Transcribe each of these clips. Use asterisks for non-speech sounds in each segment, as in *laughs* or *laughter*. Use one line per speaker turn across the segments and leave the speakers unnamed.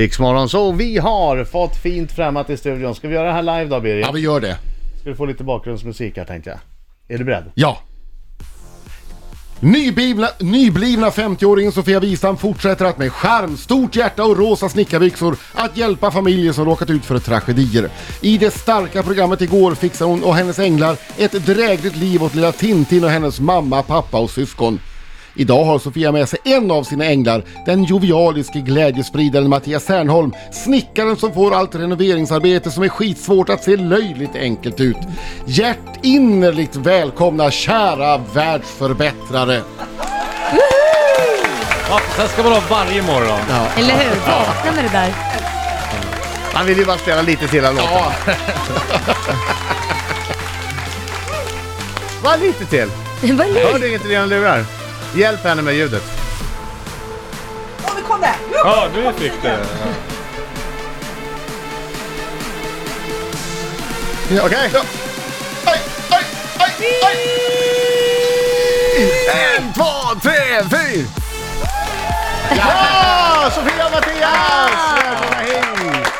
Riksmorgon, så vi har fått fint främmat i studion. Ska vi göra det här live då Birger?
Ja, vi gör det.
Ska du få lite bakgrundsmusik här tänkte jag. Är du beredd?
Ja. Nyblivna, nyblivna 50-åringen Sofia Wistam fortsätter att med skärm, stort hjärta och rosa snickarbyxor att hjälpa familjer som råkat ut för tragedier. I det starka programmet igår fixar hon och hennes änglar ett drägligt liv åt lilla Tintin och hennes mamma, pappa och syskon. Idag har Sofia med sig en av sina änglar, den jovialiske glädjespridaren Mattias Sernholm, snickaren som får allt renoveringsarbete som är skitsvårt att se löjligt enkelt ut. Hjärtinnerligt välkomna kära världsförbättrare!
Ja, sen ska man ha varje morgon.
Eller hur? Vakna med det där. *laughs*
Han vill ju bara spela lite till av låten.
Ja,
Bara lite till.
Det var lite-
Hör du inget i dina lurar? Hjälp henne med ljudet.
Åh, vi kom där!
Ja, du fick det.
Okej?
Aj, aj, aj, aj.
En, två, tre, fyra! Ja! Sofia och Mattias! Välkomna hit!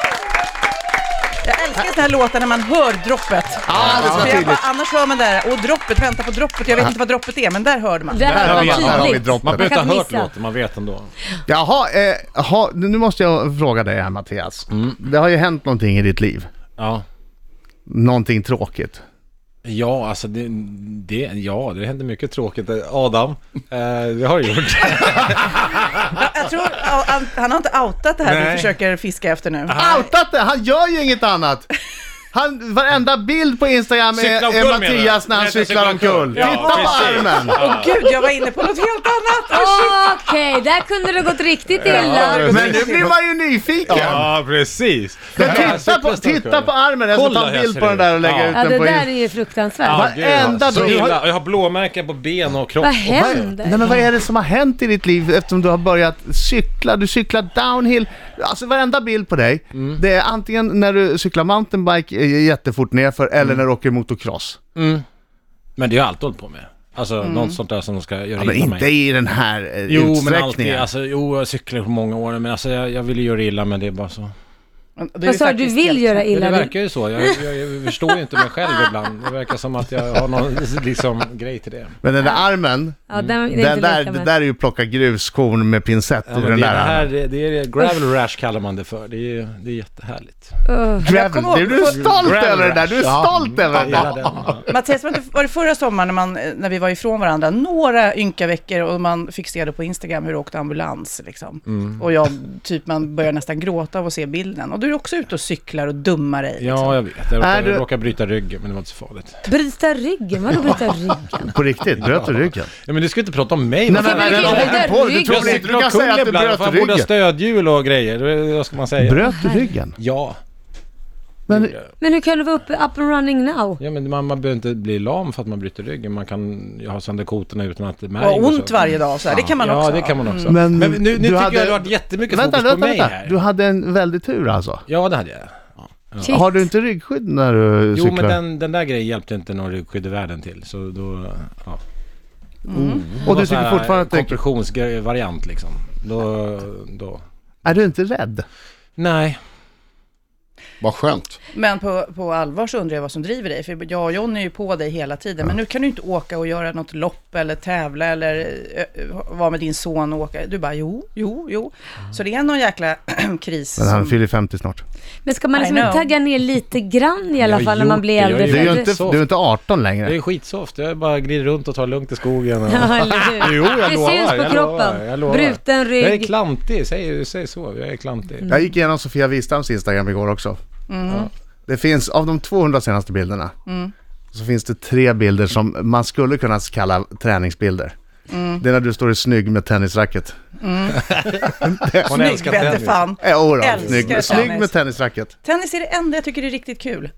Jag älskar såna här låtar när man hör droppet.
Ja, det ska vara
För jag bara,
tydligt.
annars hör man där, och droppet, vänta på droppet, jag vet inte vad droppet är, men där hörde man.
Det
Där
här
har
var
vi- där har vi
tydligt.
droppet.
Man
Man
behöver
kan
inte ha hört
missa.
låten, man vet ändå.
Jaha, eh, ha, nu måste jag fråga dig här Mattias.
Mm.
Det har ju hänt någonting i ditt liv.
Ja,
Någonting tråkigt.
ja alltså det, det, ja, det hände mycket tråkigt. Adam, eh, det har du gjort. *laughs*
Ja, Jag tror, ja, han, han har inte outat det här
Nej.
du försöker fiska efter nu.
outat det! Han gör ju inget annat! Han, varenda bild på Instagram är,
Cykla omkull,
är Mattias när
menar
han
du?
cyklar
Cykla
omkull.
omkull. Ja,
Titta på
precis.
armen!
Åh gud, jag var inne på något helt
*laughs*
annat! Åh, shit.
Okej, där kunde det gått riktigt illa.
det-
Men nu blir man ju nyfiken!
Ja, precis.
Men titta, på, titta på armen, jag ska
Kolla
ta en bild på
hälsar
den där och lägga
du.
ut
Ja,
den
det
på
där
Instagram.
är ju fruktansvärt.
Va? Varenda
dag.
dag.
Jag har, alltså. jag har blåmärken på ben och kropp.
Vad
Nej
händer?
men vad är det som har hänt i ditt liv eftersom du har börjat cykla? Du cyklar downhill. Alltså varenda bild på dig,
Mm.
det är antingen när du cyklar mountainbike eh, jättefort nerför eller
Mm.
när du åker motocross.
Men det har jag alltid hållit på med. Alltså något sånt där som ska göra
Mm. Men
illa
inte
mig.
i den här eh,
Jo, men alltid.
utsträckningen.
Alltså, jo, jag har cyklat på många år, men alltså jag, jag vill ju göra illa, men det är bara så.
Men det är
Vad
ju
sa du? Du
faktiskt
vill
helt-
göra
Ja, det
illa dig?
verkar ju så. Jag, jag, jag förstår ju inte mig själv ibland. Det verkar som att jag har någon liksom, grej till det.
Men den där armen,
Ja, den, den,
den där,
där,
det där är ju plocka gruskorn med pincett
Ja,
i
men
den
det,
där
är det,
armen.
här, det, det är gravel rash kallar man det för. Det är, det är jättehärligt.
Jag
Gravel.
kommer ihåg-
Du är stolt
Gravel
över det där, du är
rush.
stolt över det
Hela
där. *laughs*
den, ja.
Mattias, var det, inte- var det förra sommaren när, man, eh, när vi var ifrån varandra, några ynka veckor och man fick se det på Instagram hur du åkte ambulans liksom.
Mm.
Och jag, typ man börjar nästan gråta av att se bilden. Och du är också ute och cyklar och dummar dig.
ja, jag vet. Jag
Är
råkade,
du-
jag råkade bryta ryggen, men det var inte så farligt.
Bryta ryggen? Vadå bryta ryggen?
På riktigt, bröt du ryggen?
Ja, men du ska inte prata om mig.
Nej
Vad
men
fan
men
men,
är det?
det är
men,
där
men på, du,
ryggen.
tror
jag
inte,
sitter
du
och
kan säga
kul
att du
ibland.
bröt
Fan, borde ha
ryggen.
stödhjul och grejer. Det- Vad ska man säga?
Bröt du ryggen?
Ja.
Men
Men hur kan du vara uppe, up and running now?
ja, men man, man behöver inte bli lam för att man bryter ryggen. Man kan ju ha sönder kotorna utan att det märks.
Och ha
och
ont
så.
varje dag och så här. Det kan man
ja,
också
det
ha.
kan man också.
Men
Men, nu, nu
du
tycker
hade-
jag det har varit jättemycket
Vänta,
fokus på
vänta,
mig
vänta.
här.
Du hade en väldig tur alltså.
Ja, det hade jag.
Shit.
Har du inte ryggskydd när du
Jo,
cyklar?
men den, den där grejen hjälpte inte någon ryggskydd i världen till. Så då, ja. Mm.
och du
Någon sån
tycker
här
fortfarande att det...
kompressionsvariant liksom. Då, då.
Är du inte rädd?
Nej.
Vad skönt.
Men på, på allvar så undrar jag vad som driver dig. För jag och Johnny är ju på dig hela tiden. Men nu kan du inte åka och göra något lopp eller tävla eller eh, vara med din son och åka. Du bara jo, jo, jo. Så det är någon jäkla *clears throat* kris.
Men han
*laughs* som-
fyller 50 snart.
Men ska man
I
liksom inte
know.
tagga ner lite grann i alla
Jag
fall när
gjort
man blir
det, jag
äldre?
är
Du är ju
För
inte,
att-
soft.
du är inte 18
Jag
längre.
är skitsoft. Jag bara glider runt och tar lugnt i skogen. Och...
*laughs* Ja,
*laughs*
eller hur?
Jo, jag
det
lovar.
syns på
jag
kroppen.
Lovar, jag lovar.
Bruten
Jag är
rygg.
klantig. Säg, säg så. Jag är klantig.
Mm. Jag gick igenom Sofia Wistams Instagram igår också.
Mm.
Ja.
Det finns, av de 200 senaste bilderna, så finns det tre bilder som man skulle kunna kalla träningsbilder.
Mm.
Det är när du står i snygg med tennisracket.
Hon
Snygg
älskar
vette
tennis.
fan.
Eh, oh, då,
Älskar
snygg,
tennis.
snygg med tennisracket.
Tennis är det enda jag tycker är riktigt kul.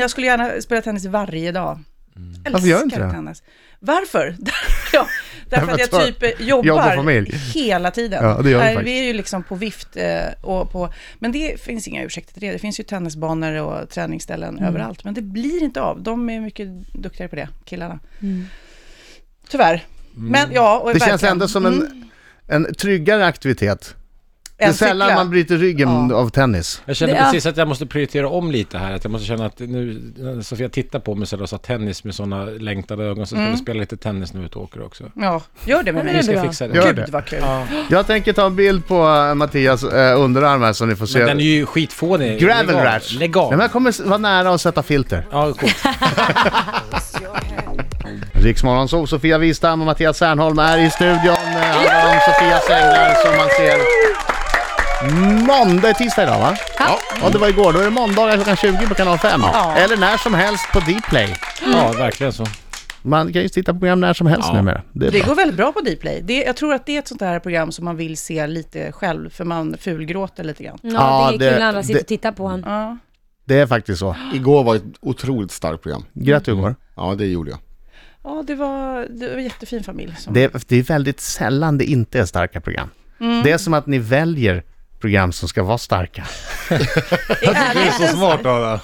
Jag skulle gärna spela tennis varje dag. Älskar
Mhm. Mm. Varför gör du inte det?
Tennis. Varför? *laughs* ja,
*laughs*
därför att
Därför
jag
att
typ eh, jobbar
jobb och familj.
hela tiden.
Ja, det gör du
Nej,
faktiskt.
vi är ju liksom på vift eh, och på... Men det finns inga ursäkter till det. Det finns ju tennisbanor och träningsställen
Mm.
överallt. Men det blir inte av. De är mycket duktigare på det, killarna. Tyvärr. Men ja, och
Mm. Det känns
verkligen. Mm.
ändå som en, en tryggare aktivitet Det är
En
sällan
cykla.
man bryter ryggen av tennis.
Jag kände
Det- ja.
precis att jag måste prioritera om lite här. Att jag måste känna att nu, när Sofia tittar på mig så och sa tennis med sådana längtade ögon. Så ska vi spela lite tennis när vi är ute och åker också.
Ja, gör det med
Ja, men
mig.
det är
Jag
bra.
fixar det.
Gör
Gud
det.
vad kul.
Jag tänker ta en bild på eh, Mattias eh, underarm här så ni får se.
Men den är ju skitfånig.
Gravel
Lägg av.
rash.
Lägg av.
Nej, men jag kommer s- vara nära att sätta filter.
Ja, coolt.
Riksmorgon så Sofia Wistam och Mattias Sernholm är i studion. Eh, Handlar om Sofias änglar som man ser. Måndag, tisdag idag va?
Ja.
Ja, det var igår. Då är det måndagar klockan 20 på kanal 5.
Ja.
Eller när som helst på Dplay.
ja verkligen så.
Man kan ju titta på program när som helst
Ja.
numera. Det är
Det
bra.
går väldigt bra på Dplay. Det, jag tror att det är ett sånt här program som man vill se lite själv, för man fulgråter lite grann.
Ja,
Ja, det är kul
det-
när andra sitter
det-
och tittar på honom.
Ja.
det är faktiskt så.
Igår var ett otroligt starkt program.
Grät du igår?
Ja, det gjorde jag.
Ja, det var, det var en jättefin familj. Som,
Det, det är väldigt sällan det inte är starka program.
Mm.
Det är som att ni väljer program som ska vara starka.
I ärlighetens,
smart Ada.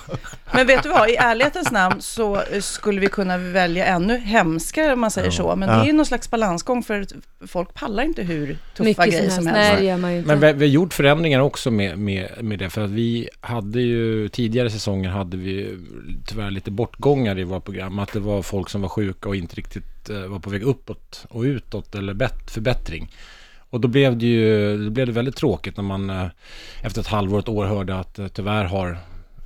men vet du vad, i ärlighetens namn så eh, skulle vi kunna välja ännu hemskare om man säger så. Men det är ju någon slags balansgång för att folk pallar inte hur tuffa
Mycket som
grejer
helst.
som helst.
Nej, det gör man ju inte.
Men vi, vi har gjort förändringar också med, med, med det. För att vi hade ju, tidigare säsonger hade vi tyvärr lite bortgångar i våra program. Att det var folk som var sjuka och inte riktigt eh, var på väg uppåt och utåt eller bett, förbättring. Och då blev det ju då blev det väldigt tråkigt när man eh, efter ett halvår, ett år hörde att eh, tyvärr har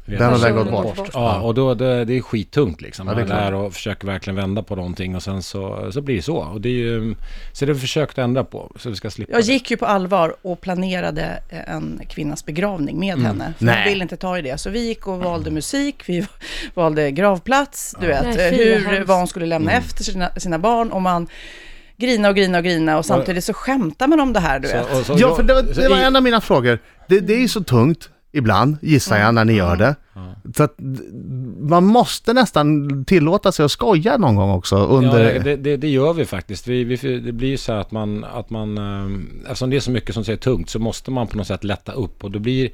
vi
Den har
har
den gått bort.
Ja, och då, det, det är skittungt liksom.
det är
Man lär och försöker verkligen vända på någonting och sen så, så blir det så. Och det är ju, så det har vi försökt ändra på, så vi ska slippa
Jag
det.
gick ju på allvar och planerade eh, en kvinnas begravning med
Mm.
henne. För
Nej.
jag ville inte ta i det. Så vi gick och valde musik, vi *laughs* valde gravplats, du vet,
Nej, fy, vad
hur,
hemskt. Mm.
vad hon skulle lämna efter sina, sina barn. Och man grina och grina och grina och samtidigt så skämtar man om det här, du vet.
Så- och så-
Ja, för det var, det
så
var
i-
en av mina frågor. Det, det är ju så tungt ibland, gissar jag, när ni gör det. Så att d- man måste nästan tillåta sig att skoja någon gång också under...
Ja, det, det, det gör vi faktiskt. Vi, vi, det blir ju så här att man, att man, eh, eftersom det är så mycket som säger tungt så måste man på något sätt lätta upp och det blir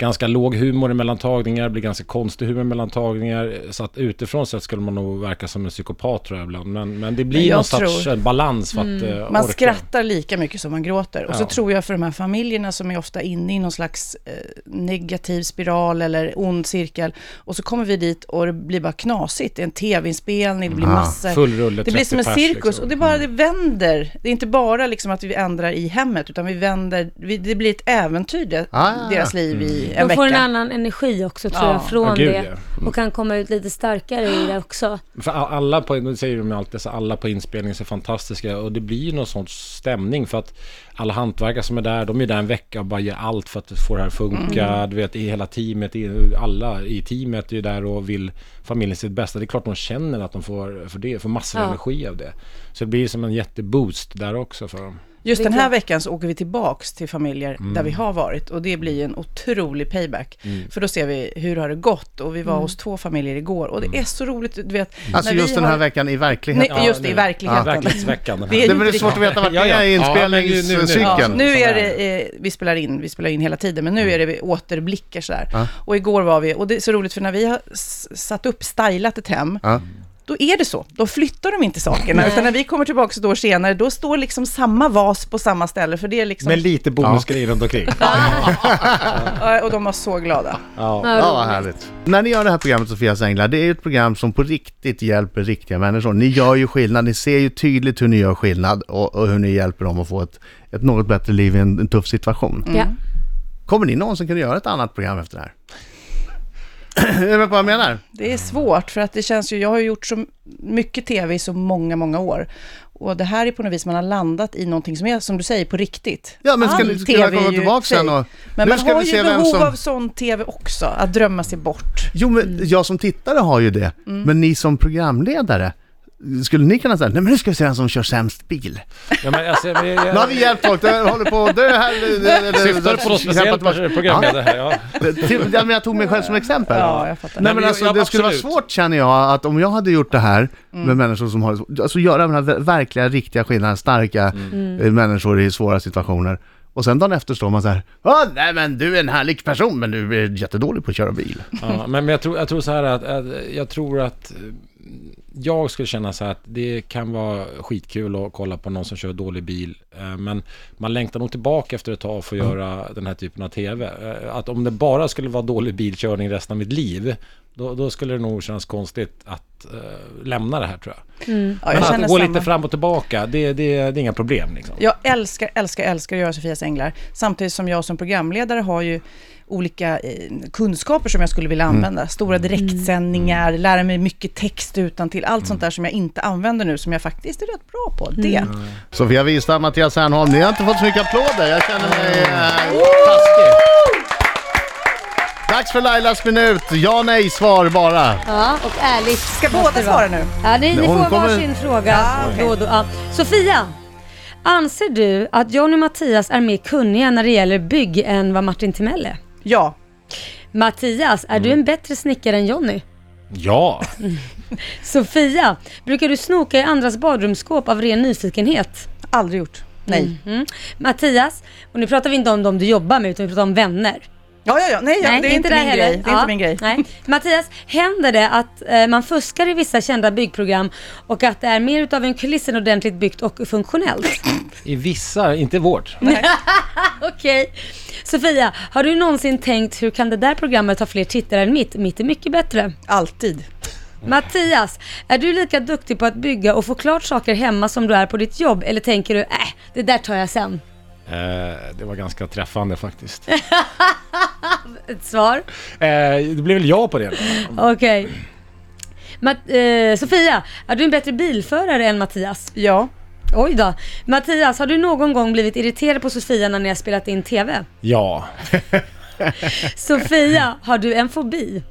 ganska låg humor mellan tagningar, det blir ganska konstig humor mellan tagningar. Så att utifrån sett skulle man nog verka som en psykopat tror jag ibland. Men, men det
Men
blir
jag
någon sorts
tror-
eh, balans för
Mm.
att eh,
Man
orka.
skrattar lika mycket som man gråter. Och så
Ja.
tror jag för de här familjerna som är ofta inne i någon slags eh, negativ spiral eller ond cirkel. Och så kommer vi dit och det blir bara knasigt. Det är en tv-inspelning, det blir
Ja,
massor.
Ah, full rulle,
det blir som en
30 pers,
cirkus.
liksom.
Och det bara det vänder. Det är inte bara liksom att vi ändrar i hemmet, utan vi vänder. Vi, det blir ett äventyr, det,
Ah, ja, ja.
deras liv i en
Mm. De får en
vecka.
annan energi också tror
Ja.
jag från
Ja, Mm. gud,
det. Och kan komma ut lite starkare i det också.
För a- alla på, nu säger de ju alltid så alla på inspelningen är så fantastiska och det blir ju någon sån stämning för att alla hantverkare som är där, de är där en vecka och bara gör allt för att få det här att funka.
Mm.
Du vet, i hela teamet, i, alla i teamet är ju där och vill familjen sitt bästa. Det är klart de känner att de får, för det, får massor av
Ja.
energi av det. Så det blir som en jätteboost där också för dem.
Just
Det är
den här
klart.
veckan så åker vi tillbaks till familjer
Mm.
där vi har varit och det blir ju en otrolig payback. För då ser vi hur har det gått och vi
Mm.
var hos två familjer igår och det är så roligt, du vet.
Mm. Alltså
när vi
just den här veckan i verkligheten.
Nej, just det, i
nu.
verkligheten.
Verklighetsveckan.
Det är
Det
ju
är
inte
väl svårt att
riktigt-
veta vart ni
Ja, ja.
är i
Ja, men nu- nu- nu-
Ja,
inspelningscykeln.
nu
Sån
är
här.
det, eh, vi spelar in, vi spelar in hela tiden, men
Mm.
nu är det återblickar sådär. Och igår var vi, och det är så roligt för när vi har s- satt upp, stylat ett hem,
Ja.
då är det så. Då flyttar de inte sakerna, utan när vi kommer tillbaka ett år senare, då står liksom samma vas på samma ställe, för det är liksom,
Med lite bonusgrejer runt omkring.
Ja, och de var så glada.
Ja.
Ja, vad härligt. När ni gör det här programmet Sofias Änglar, det är ju ett program som på riktigt hjälper riktiga människor. Ni gör ju skillnad, ni ser ju tydligt hur ni gör skillnad och, och hur ni hjälper dem att få ett, ett något bättre liv i en, en tuff situation.
Ja.
Kommer ni någonsin kunna göra ett annat program efter det här? *clears throat* är du med på vad jag menar?
Det är svårt för att det känns ju, jag har ju gjort så mycket tv i så många, många år. Och det här är på något vis man har landat i någonting som är, som du säger, på riktigt.
Ja, men ska
All
ni- ska jag
TV är
komma
ju
tillbaka
fake.
sen och-
Men
Nu
man
ska
har
vi
ju
se vem
behov
som-
av sån tv också, att drömma sig bort.
Jo, men
Mm.
jag som tittare har ju det. Men ni som programledare, skulle ni kunna säga, nej men nu ska vi se vem som kör sämst bil.
Ja, men, alltså, men, jag,
Nu har vi hjälpt folk, de håller på att dö här.
Syftar du på något speciellt programledare här? Ja.
Till- ja, men jag tog mig själv som exempel.
Ja, jag fattar.
Nej, men
men
alltså,
jag-
det skulle vara
absolut.
svårt känner jag att om jag hade gjort det här med människor som har det svårt, alltså göra den här ver- verkliga, riktiga skillnaden, starka eh, människor i svåra situationer. Och sen dagen efter står man så här, "Ah, nej men du är en härlig person men du är jättedålig på att köra bil.
Ja, men men jag tror, jag tror så här att, att jag tror att eh, jag skulle känna så här att det kan vara skitkul att kolla på någon som kör dålig bil. eh, Men man längtar nog tillbaka efter ett tag för att göra den här typen av TV. Eh, Att om det bara skulle vara dålig bilkörning resten av mitt liv, då, då skulle det nog kännas konstigt att eh, lämna det här tror jag.
Ja,
Men
jag
att
känner
gå
samma.
lite fram och tillbaka, det, det, det är inga problem liksom.
Jag älskar, älskar, älskar att göra Sofias änglar. Samtidigt som jag som programledare har ju olika eh, kunskaper som jag skulle vilja använda. Stora direktsändningar, lära mig mycket text utan till Allt sånt där som jag inte använder nu, som jag faktiskt är rätt bra på.
Mm.
Det.
Sofia Wistam, Mattias Ernholm, ni har inte fått så mycket applåder. Jag känner mig eh, taskig. Dags för Lailas minut. Ja, nej, svar bara.
Ja, och ärligt. Ska
båda svara nu?
Ja, ni, ni
Nej, hon
får
kommer-
varsin fråga. då, och då. Ja. Sofia, anser du att Johnny och Mattias är mer kunniga när det gäller bygg än vad Martin Timell är?
Ja,
Mattias, är
Mm.
du en bättre snickare än Johnny?
Ja,
Sofia, brukar du snoka i andras badrumsskåp av ren nyfikenhet?
aldrig gjort. Nej.
Mm. Mattias, och nu pratar vi inte om dem du jobbar med utan vi pratar om vänner.
Ja, ja, ja. Nej, ja, det är inte,
där
min
heller.
grej. Det är
Ja,
inte min grej.
Nej. Mattias, händer det att eh, man fuskar i vissa kända byggprogram och att det är mer utav en kuliss än ordentligt byggt och
*laughs*
funktionellt?
i vissa, inte vårt.
Okej. Sofia, har du någonsin tänkt hur kan det där programmet ha fler tittare än mitt? Mitt är mycket bättre.
Alltid.
Mattias, är du lika duktig på att bygga och få klart saker hemma som du är på ditt jobb eller tänker du äh, det där tar jag sen?
Eh, det var ganska träffande faktiskt.
Ett svar.
Eh, det blev väl jag på det då.
Okej. Mat- eh, Sofia, är du en bättre bilförare än Mattias?
Ja.
Oj då. Mattias, har du någon gång blivit irriterad på Sofia när ni har spelat in TV?
Ja.
Sofia, har du en fobi?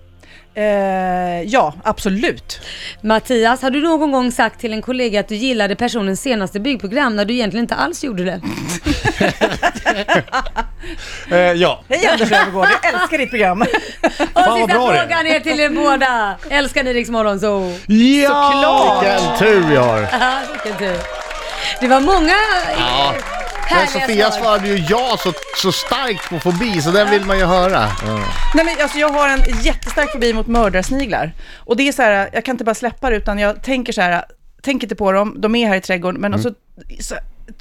Eh, ja, absolut.
Mattias, har du någon gång sagt till en kollega att du gillade personens senaste byggprogram när du egentligen inte alls gjorde
*laughs*
det?
Eh, ja.
Hej Anders Öfvergård, jag älskar ditt program.
Och
vad
sista
bra det är.
frågan är till er båda. Älskar ni Rix Morgonzoo?
Ja!
Vilken tur vi har.
Ja, vilken tur. Det var många
Ja. Men
härliga
Sofia
svar.
svarade ju ja så, så starkt på fobi, så den vill man ju höra.
Nej, men alltså, jag har en jättestark fobi mot mördarsniglar. Och det är så här, jag kan inte bara släppa det, utan jag tänker så här, tänk inte på dem, de är här i trädgården, men och så, så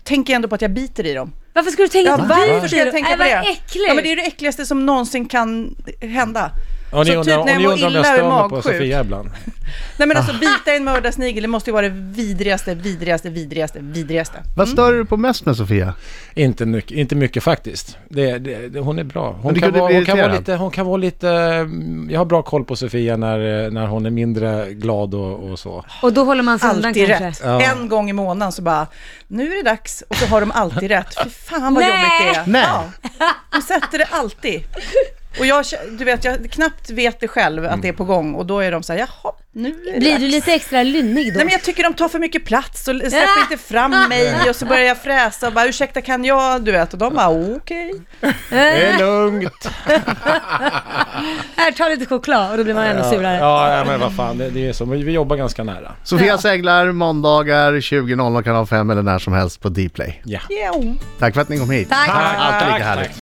tänker jag ändå på att jag biter i dem.
Varför skulle du tänka
Ja,
på
varför ska jag
det?
tänka
Nej,
på det?
Vad äckligt.
Ja, men det är det äckligaste som någonsin kan hända.
Och ni
Så
undrar,
typ när
och
jag
ni
mår
undrar om jag
illa och är
stör mig på
magsjuk.
Sofia ibland.
Nej men alltså bita i en mördarsnigel, det måste ju vara det vidrigaste, vidrigaste, vidrigaste, vidrigaste.
Vad stör du på mest med Sofia?
Inte mycket, inte mycket faktiskt. Det, det, det, hon är bra. Hon
du
kan,
kunde
vara,
bli
hon, kan vara
irriterad.
lite, hon kan vara lite... mm, Jag har bra koll på Sofia när, eh, när hon är mindre glad och, och så.
Och då håller man sig undan
Alltid
kanske?
rätt.
Ja.
En gång i månaden så bara, nu är det dags och så har de alltid rätt. Fy fan vad
Nej.
jobbigt det är.
Nej.
Ja, de sätter det alltid. Och jag, du vet, jag knappt vet det själv att det är på gång och då är de så här, jaha, nu är det
Blir
dags."
du lite extra lynnig då?
Nej men jag tycker de tar för mycket plats och släpper inte fram
*laughs*
mig och så börjar jag fräsa och bara ursäkta kan jag, du vet, och de bara okej.
Det är lugnt.
Äh, Här, ta lite choklad och då blir man ännu surare.
Ja, ja, men vad fan, det, det är så. Men Vi jobbar ganska nära.
Sofias änglar, måndagar 20.00 kanal 5 eller när som helst på Dplay.
Yeah.
Tack för att ni kom hit.
Tack.
Alltid lika härligt.
tack.